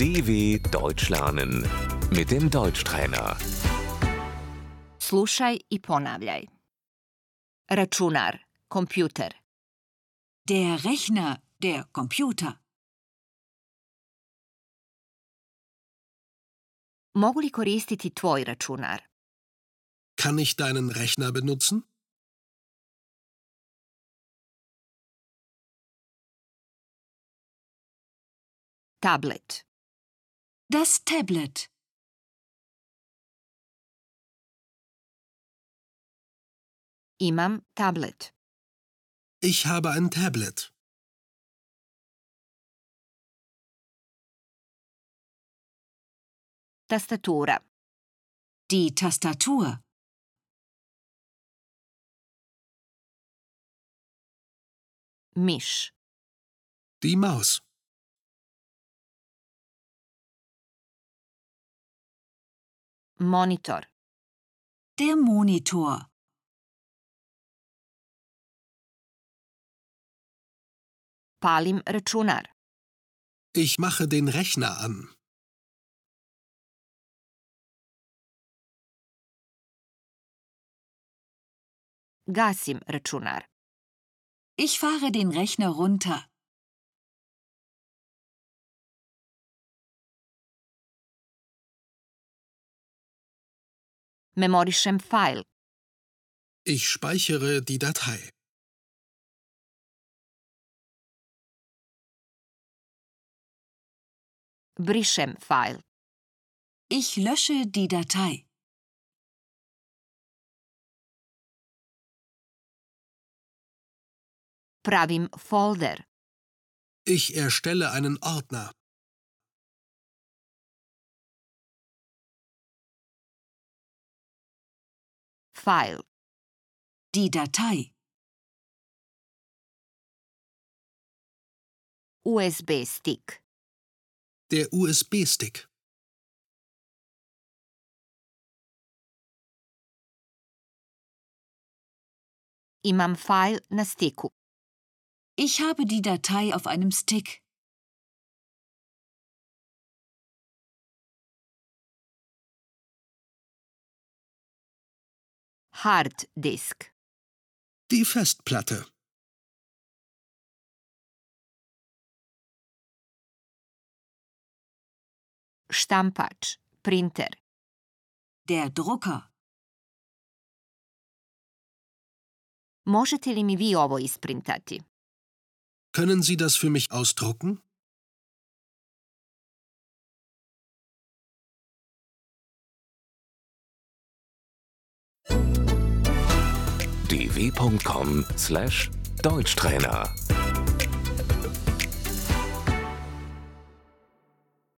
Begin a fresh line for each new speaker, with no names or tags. DW Deutsch lernen mit dem Deutschtrainer.
Slušaj i ponavljaj. Računar, kompjuter,
Der Rechner, der Computer,
mogu li koristiti tvoj računar?
Kann ich deinen Rechner benutzen?
Tablet,
das Tablet,
imam tablet,
Ich habe ein Tablet.
tastatura,
die Tastatur,
miš,
Die Maus.
monitor,
der Monitor,
palim računar,
Ich mache den Rechner an.
gasim računar,
ich fahre den Rechner runter,
memorišem fajl,
Ich speichere die Datei.
brišem fajl,
ich lösche die Datei,
pravim folder,
Ich erstelle einen Ordner.
fajl,
die Datei,
USB stick,
Der USB-Stick.
imam fajl na stiku,
ich habe die Datei auf einem Stick,
hard disk,
Die Festplatte.
štampač, printer,
der Drucker.
možete li mi vi ovo isprintati?
Können Sie das für mich ausdrucken?
dw.com/deutschtrainer